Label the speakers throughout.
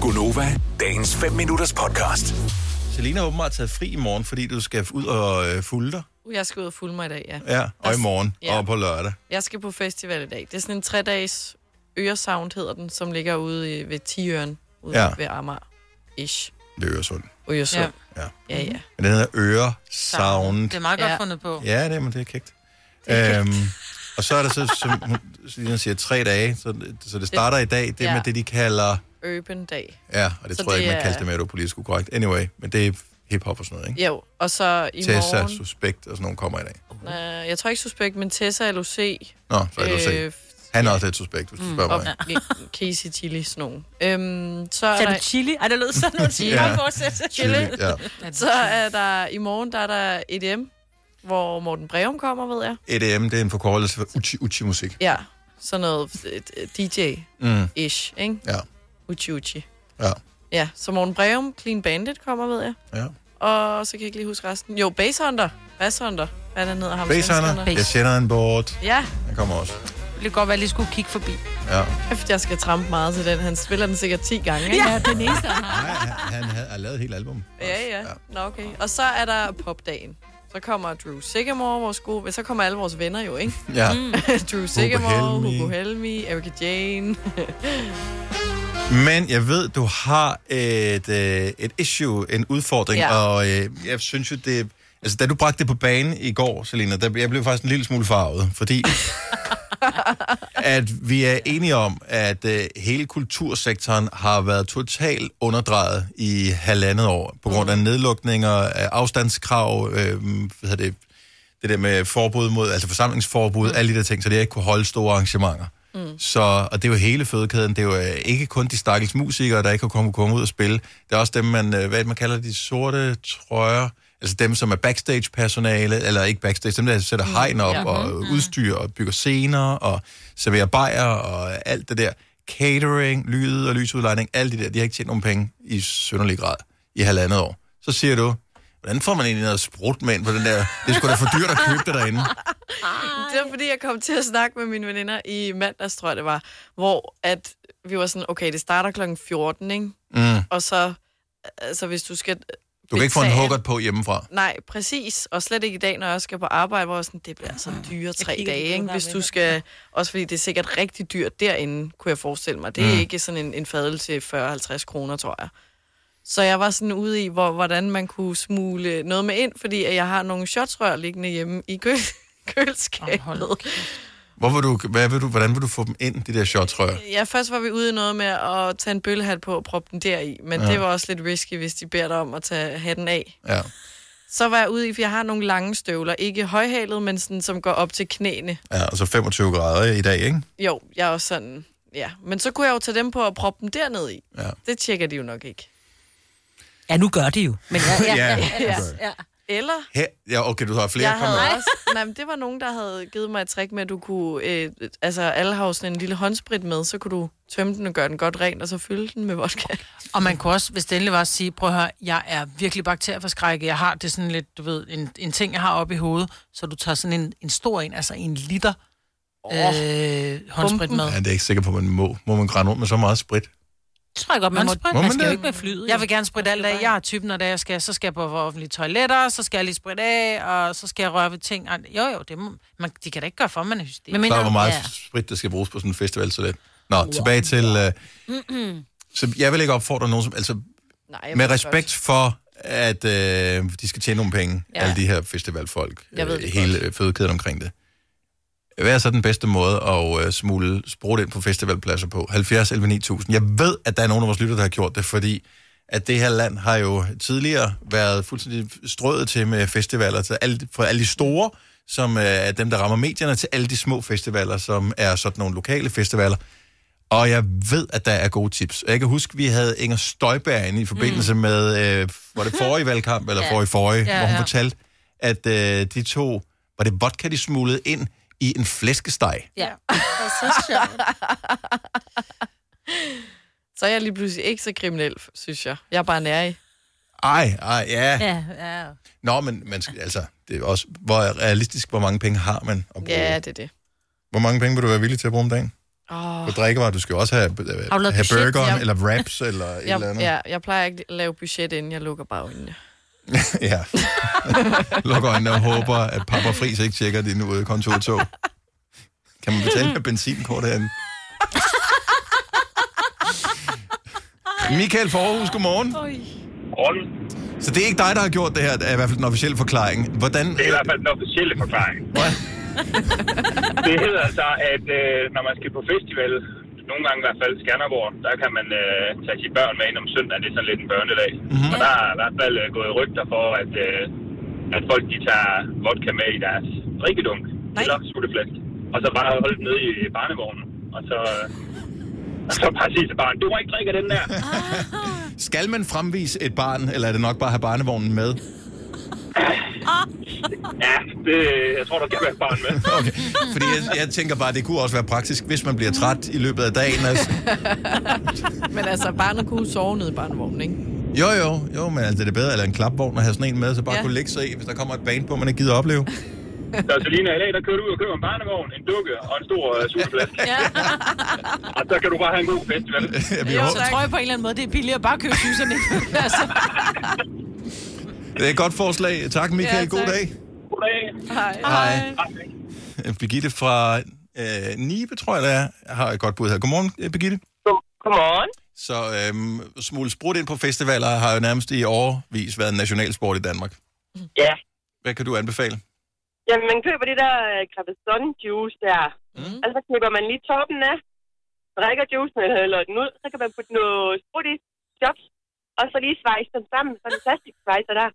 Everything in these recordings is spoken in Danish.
Speaker 1: Gunova, dagens 5 minutters podcast.
Speaker 2: Selina har åbenbart taget fri i morgen, fordi du skal ud og øh, fulde dig.
Speaker 3: Uh, Jeg skal ud og fulde mig i dag, ja.
Speaker 2: Ja, og i morgen,
Speaker 3: ja.
Speaker 2: og på lørdag.
Speaker 3: Jeg skal på festival i dag. Det er sådan en tre-dages Øresound, hedder den, som ligger ude i- ved Tiøren, ude
Speaker 2: Ja.
Speaker 3: ja. ved Amager. Ish.
Speaker 2: Det er Øresund.
Speaker 3: Øresund.
Speaker 2: Ja.
Speaker 3: Ja, ja. ja.
Speaker 2: Men den hedder Øresound.
Speaker 4: Det er meget godt
Speaker 3: Ja.
Speaker 4: fundet på.
Speaker 2: Ja, det er, men det er kægt. Øhm, og så er der så, som hun- Selina siger, tre dage, så, så det starter i dag. Det er
Speaker 3: Ja.
Speaker 2: med det, de kalder...
Speaker 3: Urban dag.
Speaker 2: Ja, og det
Speaker 3: Så
Speaker 2: tror jeg
Speaker 3: det
Speaker 2: ikke, man
Speaker 3: er-
Speaker 2: kaldte det med, at du er politisk ukorrekt. Anyway, men det er hiphop og sådan noget, ikke?
Speaker 3: Jo, og så i
Speaker 2: Tessa,
Speaker 3: morgen...
Speaker 2: Suspekt og sådan nogen kommer i dag.
Speaker 3: Øh, jeg tror ikke suspekt, men Tessa LOC.
Speaker 2: Nå, så er det øh, Han er også lidt suspekt, hvis du spørger
Speaker 3: og
Speaker 2: mig.
Speaker 3: Casey Chili, sådan nogen. Øhm, så er
Speaker 4: Sagde
Speaker 3: der
Speaker 4: du chili? Ej, det lød sådan noget chili.
Speaker 2: Ja.
Speaker 4: Ja. Fortsæt.
Speaker 2: Chili, Ja.
Speaker 3: Så er der i morgen, der er der EDM, hvor Morten Breum kommer, ved jeg.
Speaker 2: EDM, det er en forkortelse for uchi, uchi musik.
Speaker 3: Ja, sådan noget øh, DJ-ish, ikke?
Speaker 2: Ja,
Speaker 3: Uchi Uchi.
Speaker 2: ja,
Speaker 3: Ja, så Morten Breum, Clean Bandit kommer, ved jeg.
Speaker 2: ja.
Speaker 3: Og så kan jeg ikke lige huske resten. Jo, Basshunter. Basshunter. Hvad er det, han hedder ham?
Speaker 2: Basehunter,
Speaker 3: svenskeren?
Speaker 2: jeg sender en bort.
Speaker 3: Ja,
Speaker 2: Han kommer også.
Speaker 4: Det kunne godt være, at jeg lige skulle kigge forbi.
Speaker 2: Ja.
Speaker 3: kæft, jeg skal trampe meget til den. Han spiller den sikkert 10 gange, ikke?
Speaker 4: Ja, den eneste, han har.
Speaker 2: Nej, han, han havde, har lavet et helt album.
Speaker 3: ja. ja. Nå, okay. Og så er der popdagen. Så kommer Drew Sigamore, vores gode... men Så kommer alle vores venner jo, ikke?
Speaker 2: Ja.
Speaker 3: Drew Sigamore,
Speaker 2: Helmi.
Speaker 3: Hugo Helmi, Erika Jane.
Speaker 2: Men jeg ved, du har et, øh, et issue, en udfordring, ja.
Speaker 3: Ja.
Speaker 2: og øh, jeg synes jo, det... Altså, da du bragte det på banen i går, Selina, der, jeg blev faktisk en lille smule farvet, fordi at vi er enige om, at øh, hele kultursektoren har været totalt underdrejet i halvandet år, på grund af nedlukninger, af afstandskrav, øh, hvad hedder det, det der med forbud mod, altså forsamlingsforbud, mm. alle de der ting, så det ikke kunne holde store arrangementer. Mm. Så, og det er jo hele fødekæden, det er jo øh, ikke kun de stakkels musikere, der ikke kan komme, komme ud og spille. Det er også dem, man, øh, hvad man kalder de sorte trøjer, altså dem, som er backstage-personale, eller ikke backstage, dem der sætter mm. hegn op, ja. og udstyr, og bygger scener, og serverer bajer, og alt det der. Catering, lyd og lysudlejning, alt det der, de har ikke tjent nogen penge i sønderlig grad i halvandet år. Så siger du, hvordan får man egentlig noget sprudt med ind på den der, det er sgu da for dyrt at købe det derinde.
Speaker 3: Det var fordi, jeg kom til at snakke med mine veninder i mandags, tror jeg det var, hvor at vi var sådan, okay, det starter klokken 14, ikke?
Speaker 2: Mm.
Speaker 3: Og så, altså hvis du skal...
Speaker 2: Du kan ikke få en hukkert på hjemmefra.
Speaker 3: Nej, præcis. Og slet ikke i dag, når jeg skal på arbejde, hvor jeg er sådan, det bliver altså dyre tre
Speaker 4: Ah, kigger
Speaker 3: dage,
Speaker 4: lige
Speaker 3: ikke?
Speaker 4: ud af
Speaker 3: Hvis du
Speaker 4: vinduet.
Speaker 3: skal... Også fordi det er sikkert rigtig dyrt derinde, kunne jeg forestille mig. Det er mm. ikke sådan en, en fadel til 40-50 kroner, tror jeg. Så jeg var sådan ude i, hvor, hvordan man kunne smule noget med ind, fordi at jeg har nogle shotsrør liggende hjemme i køl
Speaker 4: Åh, hold
Speaker 3: køleskabet.
Speaker 4: nu
Speaker 3: Oh,
Speaker 2: Hvor vil du, hvad vil du, hvordan vil du få dem ind, de der shotrør?
Speaker 3: Ja, først var vi ude i noget med at tage en bøllehat på og proppe den der i, men ja. det var også lidt risky, hvis de beder dig om at tage hatten af.
Speaker 2: Ja.
Speaker 3: Så var jeg ude i, for jeg har nogle lange støvler, ikke højhalet, men sådan, som går op til knæene.
Speaker 2: ja, og så 25 grader i dag, ikke?
Speaker 3: Jo, jeg er også sådan, ja. Men så kunne jeg jo tage dem på og proppe dem derned i.
Speaker 2: Ja.
Speaker 3: Det tjekker de jo nok ikke.
Speaker 4: Ja, nu gør det jo. Men ja, ja.
Speaker 2: ja.
Speaker 4: ja.
Speaker 3: Eller,
Speaker 2: Her, ja okay, du har flere
Speaker 3: jeg havde
Speaker 2: kommet.
Speaker 3: også... Nej, men det var nogen, der havde givet mig et trick med, at du kunne... Øh, altså, alle har jo sådan en lille håndsprit med, så kunne du tømme den og gøre den godt ren, og så fylde den med vodka.
Speaker 4: Og man kunne også, hvis det endelig var, sige, prøv at høre, jeg er virkelig bakterieforskrækket. Jeg har det sådan lidt, du ved, en, en ting, jeg har oppe i hovedet. Så du tager sådan en, en stor en, altså en liter øh, håndsprit
Speaker 3: Pumpen.
Speaker 4: med.
Speaker 2: Ja, det er jeg ikke sikker på, man må. Må man grænne rundt med så meget sprit?
Speaker 5: Det tror jeg godt, man må.
Speaker 4: Håndsprit?
Speaker 2: Må man
Speaker 5: Man skal
Speaker 2: det?
Speaker 5: jo ikke med flyet.
Speaker 4: Jeg vil gerne spritte alt af. Jeg er typen, når det er, jeg skal, så skal jeg på offentlige toiletter, så skal jeg lige spritte af, og så skal jeg røre ved ting. Og, jo, jo, det må, man, de kan da ikke gøre for, at man er hysterisk.
Speaker 5: Men
Speaker 2: Så er hvor meget
Speaker 5: ja.
Speaker 2: sprit, der skal bruges på sådan en festival, så det. Nå, tilbage til... Øh, så jeg vil ikke opfordre nogen som... Altså,
Speaker 3: Nej, jeg ved
Speaker 2: med
Speaker 3: det
Speaker 2: respekt for, at øh, de skal tjene nogle penge, ja.
Speaker 3: Ja.
Speaker 2: alle de her festivalfolk,
Speaker 3: Jeg ved
Speaker 2: øh,
Speaker 3: det
Speaker 2: hele godt. fødekæden omkring det. Hvad er så den bedste måde at øh, smule sprut ind på festivalpladser på? 70 11 9000. Jeg ved, at der er nogen af vores lytter, der har gjort det, fordi at det her land har jo tidligere været fuldstændig strøget til med festivaler, til alle, fra alle de store, som øh, er dem, der rammer medierne, til alle de små festivaler, som er sådan nogle lokale festivaler. Og jeg ved, at der er gode tips. Jeg kan huske, vi havde Inger Støjberg inde i forbindelse mm. med, øh, var det forrige valgkamp, eller forrige forrige, ja, hvor hun ja.
Speaker 4: ja.
Speaker 2: fortalte, at øh, de to, var det vodka, de smuglede ind i en flæskesteg.
Speaker 5: Ja. Det er så sjovt.
Speaker 3: godt. Så er jeg lige pludselig ikke så kriminel, synes jeg. Jeg er bare nær i.
Speaker 2: Ej, ej, ja. ja.
Speaker 5: Ja, ja.
Speaker 2: Nå, men man skal, altså, det er også, hvor realistisk, hvor mange penge har man at bruge?
Speaker 3: Ja, det er det.
Speaker 2: Hvor mange penge vil du være villig til at bruge om dagen?
Speaker 3: Åh,
Speaker 2: På drikkevarer, du skal jo også have, øh,
Speaker 5: lavet
Speaker 2: have
Speaker 5: budget?
Speaker 2: burgeren,
Speaker 3: Ja.
Speaker 2: eller wraps, eller et eller
Speaker 3: jeg,
Speaker 2: andet.
Speaker 3: ja, jeg plejer ikke at lave budget, inden jeg lukker bagøjnene.
Speaker 2: Ja. Luk øjnene og håber, at Papa Fris ikke tjekker din ude kontortog. Kan man betale med benzinkort herinde? Michael Forhus, godmorgen.
Speaker 6: Grunden,
Speaker 2: Så det er ikke dig, der har gjort det her, er i hvert fald den officielle forklaring. Hvordan...
Speaker 6: det er i hvert fald den officielle forklaring. Det hedder altså, at øh, når man skal på festival, nogle gange i hvert fald Skanderborg, der kan man øh, tage sine børn med ind om søndagen. Det er sådan lidt en børnedag. Mm-hmm. Og der er i hvert fald øh, gået rygter for, at, øh, at folk de tager vodka med i deres drikkedunk.
Speaker 3: Nej.
Speaker 6: Eller sutteflæsk. Og så bare holde den nede i barnevognen. Og så... Øh, og så bare sige til barnet, du må ikke drikke af den der.
Speaker 2: Skal man fremvise et barn, eller er det nok bare at have barnevognen med?
Speaker 6: Ja, det, jeg tror, der skal være et barn med.
Speaker 2: Okay. Fordi jeg, jeg tænker bare, det kunne også være praktisk, hvis man bliver træt i løbet af dagen. Altså.
Speaker 3: Men altså, barnet kunne sove nede i barnevognen, ikke?
Speaker 2: Jo, jo, jo, men altså, det er bedre, eller en klapvogn at have sådan en med, så bare ja.
Speaker 3: Ja.
Speaker 2: kunne lægge sig i, hvis der kommer et bane på, man ikke gider opleve.
Speaker 6: Så Selina, i dag der kører du ud og køber en barnevogn, en dukke og en stor øh, sutteflaske.
Speaker 5: Ja.
Speaker 6: Og så kan du bare have en god festival.
Speaker 2: Ja, vi
Speaker 4: Jo,
Speaker 2: håber-
Speaker 4: så tror jeg på en eller anden måde, det er billigere bare at købe suserne. altså.
Speaker 2: Det er et godt forslag. Tak, Michael. Ja,
Speaker 3: Ja,
Speaker 2: God
Speaker 3: tak.
Speaker 2: dag.
Speaker 6: Goddag.
Speaker 2: Hej. Birgitte fra øh, Nibe, tror jeg, det er, har et godt bud her. Godmorgen, øh, Birgitte.
Speaker 7: God- Godmorgen.
Speaker 2: Så øhm, smule sprudt ind på festivaler har jo nærmest i årvis været en nationalsport i Danmark.
Speaker 7: Ja.
Speaker 2: Hvad kan du anbefale?
Speaker 7: Jamen, man køber det der øh, Cravason juice der.
Speaker 2: Mm.
Speaker 7: Mm. Og så køber man lige toppen af, drikker juicen eller hælder den ud, så kan man putte noget sprut i, chops, og så lige svejse dem sammen, sådan en plastiksvejser der.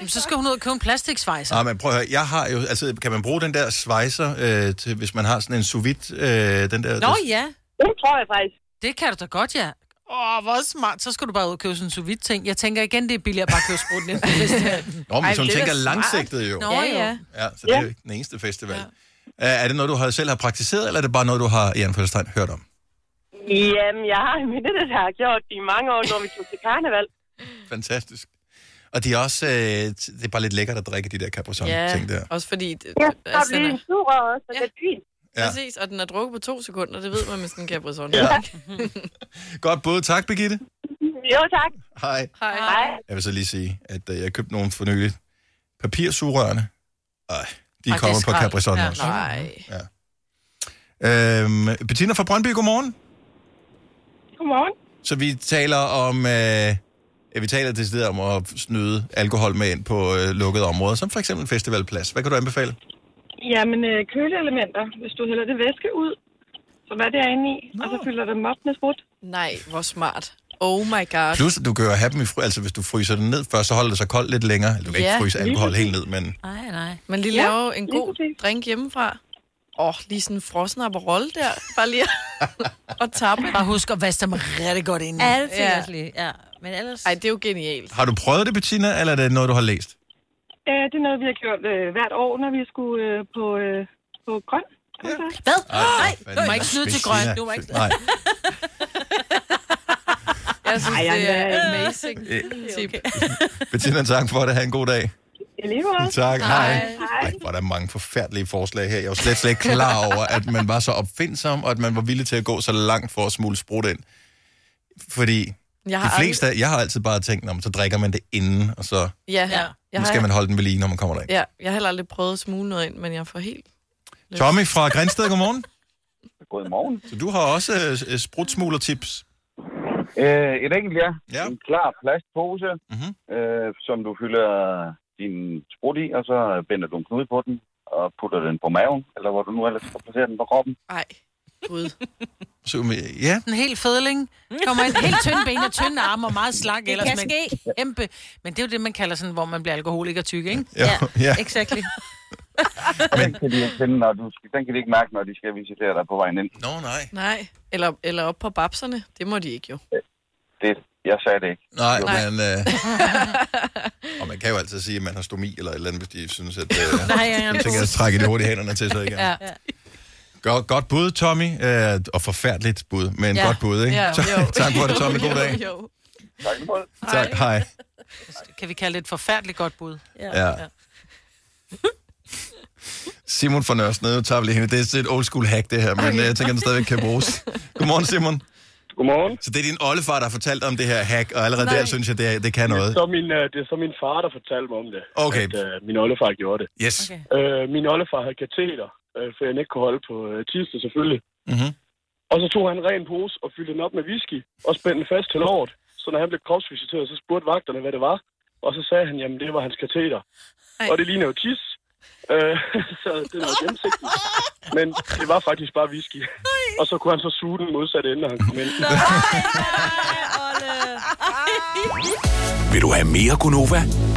Speaker 4: Jamen, så skal hun ud og købe en plastiksvejser.
Speaker 2: Ah, men prøv at høre, jeg har jo, altså, kan man bruge den der svejser, øh, til, hvis man har sådan en sous vide, øh, den der...
Speaker 4: Nå ja,
Speaker 7: Det tror jeg faktisk.
Speaker 4: det kan du da godt, ja. Åh, oh, hvor smart. Så skal du bare ud og købe sådan en sous vide ting. Jeg tænker igen, det er billigere bare at købe spruten ind på festivalen.
Speaker 2: Nå, men
Speaker 3: Ej,
Speaker 2: hvis hun
Speaker 3: det er da
Speaker 2: tænker
Speaker 3: smart.
Speaker 2: langsigtet jo.
Speaker 4: Nå
Speaker 3: Ja,
Speaker 4: ja,
Speaker 3: ja.
Speaker 4: ja.
Speaker 2: Ja, så det er jo ikke den eneste festival. Ja. Er det noget, du har, selv har praktiseret, eller er det bare noget, du har i anførselstegn hørt om?
Speaker 7: Jamen, jeg har en veninde, der har gjort det i mange år, når vi tog til karneval.
Speaker 2: Fantastisk. Og de er også, øh, t- det er bare lidt lækkert at drikke de der Capricorn
Speaker 3: Ja,
Speaker 2: ting der.
Speaker 3: også fordi... Det,
Speaker 7: Ja, så er det
Speaker 3: den
Speaker 7: lige
Speaker 3: er,
Speaker 7: en sur også, så
Speaker 3: Ja.
Speaker 7: det er fint.
Speaker 2: Ja.
Speaker 3: ja. Præcis, og den er drukket på to sekunder, det ved man med sådan en cabrison.
Speaker 2: Ja. Godt både. Tak, Birgitte.
Speaker 7: Jo, tak.
Speaker 2: Hej.
Speaker 3: Hej.
Speaker 7: Hej.
Speaker 2: Jeg vil så lige sige, at øh, jeg købte nogle for nylig papirsugerørene. Ej, de
Speaker 4: er
Speaker 2: kommer på
Speaker 4: skrald.
Speaker 2: Capricorn
Speaker 4: Ja,
Speaker 2: også.
Speaker 3: Nej.
Speaker 2: Øhm, Bettina fra Brøndby, godmorgen.
Speaker 7: Godmorgen.
Speaker 2: Så vi taler om... Øh, ja, vi taler til stedet om at snyde alkohol med ind på øh, lukkede områder, som for eksempel festivalplads. Hvad kan du anbefale?
Speaker 8: Jamen, øh, køleelementer. Hvis du hælder det væske ud, så hvad det er inde i, og så fylder dem op med sprut.
Speaker 3: Nej, hvor smart. Oh my god.
Speaker 2: Plus, at du kan jo have dem i fry... Altså, hvis du fryser den ned først, så holder det sig koldt lidt længere. Altså, Du kan
Speaker 3: Ja,
Speaker 2: ikke fryse alkohol helt ned, men...
Speaker 5: Nej, nej.
Speaker 3: Man lige
Speaker 8: Ja,
Speaker 3: laver en
Speaker 8: lige
Speaker 3: god
Speaker 8: præcis.
Speaker 3: drink hjemmefra. Åh, oh, lige sådan en frossen Aperol der. Bare lige og tappe.
Speaker 4: Bare husk at vaske dem rigtig godt ind.
Speaker 5: Ja, det tænker jeg også lige. Ja. Men ellers...
Speaker 3: Ej, det er jo genialt.
Speaker 2: Har du prøvet det, Bettina, eller er det noget, du har læst?
Speaker 8: Øh, det er noget, vi har gjort øh, hvert år, når vi skulle øh, på, øh, på grøn. Altså,
Speaker 5: Hvad?
Speaker 2: Nej, du
Speaker 4: må ikke snyde til grøn. Du må ikke-
Speaker 2: Nej,
Speaker 3: Jeg synes,
Speaker 8: Ej, jeg
Speaker 3: det er
Speaker 8: er-
Speaker 3: amazing tip.
Speaker 2: Bettina, tak for det. Ha' en god dag.
Speaker 8: i lige måde.
Speaker 2: Tak, hej. Ej, hvor er der mange forfærdelige forslag her. Jeg var slet, slet ikke klar over, at man var så opfindsom, og at man var villig til at gå så langt for at smule sprut ind. Fordi
Speaker 3: Jeg
Speaker 2: de
Speaker 3: har
Speaker 2: fleste, af- jeg har altid bare tænkt, om så drikker man det inden, og så
Speaker 3: aldrig- Ja,
Speaker 4: Ja.
Speaker 3: ja. Jeg,
Speaker 2: nu
Speaker 3: har,
Speaker 2: skal man holde den ved lige, når man kommer derind.
Speaker 3: ja, jeg har heller aldrig prøvet at smule noget ind, men jeg får helt...
Speaker 2: Tommy fra Grænsted, godmorgen.
Speaker 6: Godmorgen.
Speaker 2: Så du har også øh, øh, sprutsmuglertips.
Speaker 6: Øh, et enkelt, ja.
Speaker 2: Ja.
Speaker 6: En klar plastpose,
Speaker 2: Mhm.
Speaker 6: mm-hmm. øh, som du fylder din sprut i, og så binder du en knude på den og putter den på maven, eller hvor du nu ellers skal placere den på kroppen.
Speaker 3: Ej, gud.
Speaker 2: Så, øh, ja,
Speaker 4: En helt fedling. Kommer en helt tynd ben og tynde arme og meget slank.
Speaker 5: Det
Speaker 4: ellers
Speaker 5: kan
Speaker 4: men
Speaker 5: ske.
Speaker 4: Kæmpe. Men det er jo det, man kalder sådan, hvor man bliver alkoholiker tyk, ikke?
Speaker 2: ja, ja.
Speaker 5: Exactly.
Speaker 6: Den kan de ikke finde, når du skal, den kan de ikke mærke, når de skal visitere dig på vejen ind.
Speaker 2: Nå, nej.
Speaker 3: Nej. Eller, eller op på babserne. Det må de ikke jo.
Speaker 6: Det, jeg sagde det ikke.
Speaker 2: Nej, men... Øh, og man kan jo altid sige, at man har stomi eller et eller andet, hvis de synes, at... Øh,
Speaker 5: Nej, jeg er
Speaker 2: Jeg tænker, at trække det hurtigt hænderne til sig igen. Ja. Godt, godt bud, Tommy. Øh, og forfærdeligt bud, men ja. godt bud, ikke?
Speaker 3: Ja,
Speaker 2: tak,
Speaker 3: jo.
Speaker 2: tak for det, Tommy. God dag.
Speaker 3: Jo, jo.
Speaker 6: Tak for det.
Speaker 2: Tak, hej.
Speaker 4: Kan vi kalde det et forfærdeligt godt bud?
Speaker 2: Ja. Simon fra Nørresnede, nu tager vi lige hende. Det er sådan et old school hack, det her, men okay. jeg tænker, den stadigvæk kan bruges. Godmorgen, Simon.
Speaker 6: Godmorgen.
Speaker 2: Så det er din oldefar, der har fortalt om det her hack, og allerede Nej.
Speaker 9: Nej.
Speaker 2: der synes jeg, det, er, det kan
Speaker 6: Det er,
Speaker 2: noget.
Speaker 6: så min, øh, det er så min far, der fortalte mig om det.
Speaker 2: Okay.
Speaker 6: At, øh, min oldefar gjorde det.
Speaker 2: Yes.
Speaker 4: Okay.
Speaker 6: Øh, min oldefar havde kateter, øh, for han ikke kunne holde på øh, tirsdag selvfølgelig.
Speaker 2: Mm-hmm.
Speaker 6: Og så tog han en ren pose og fyldte den op med whisky og spændte den fast til låret. Så når han blev kropsvisiteret, så spurgte vagterne, hvad det var. Og så sagde han, jamen det var hans kateter.
Speaker 10: Ej.
Speaker 6: Og det ligner jo tis. Øh, så det var gennemsigtigt. Men det var faktisk bare whisky. Og så kunne han så suge den modsatte ende, når han kom ind.
Speaker 1: Vil du have mere Gunova?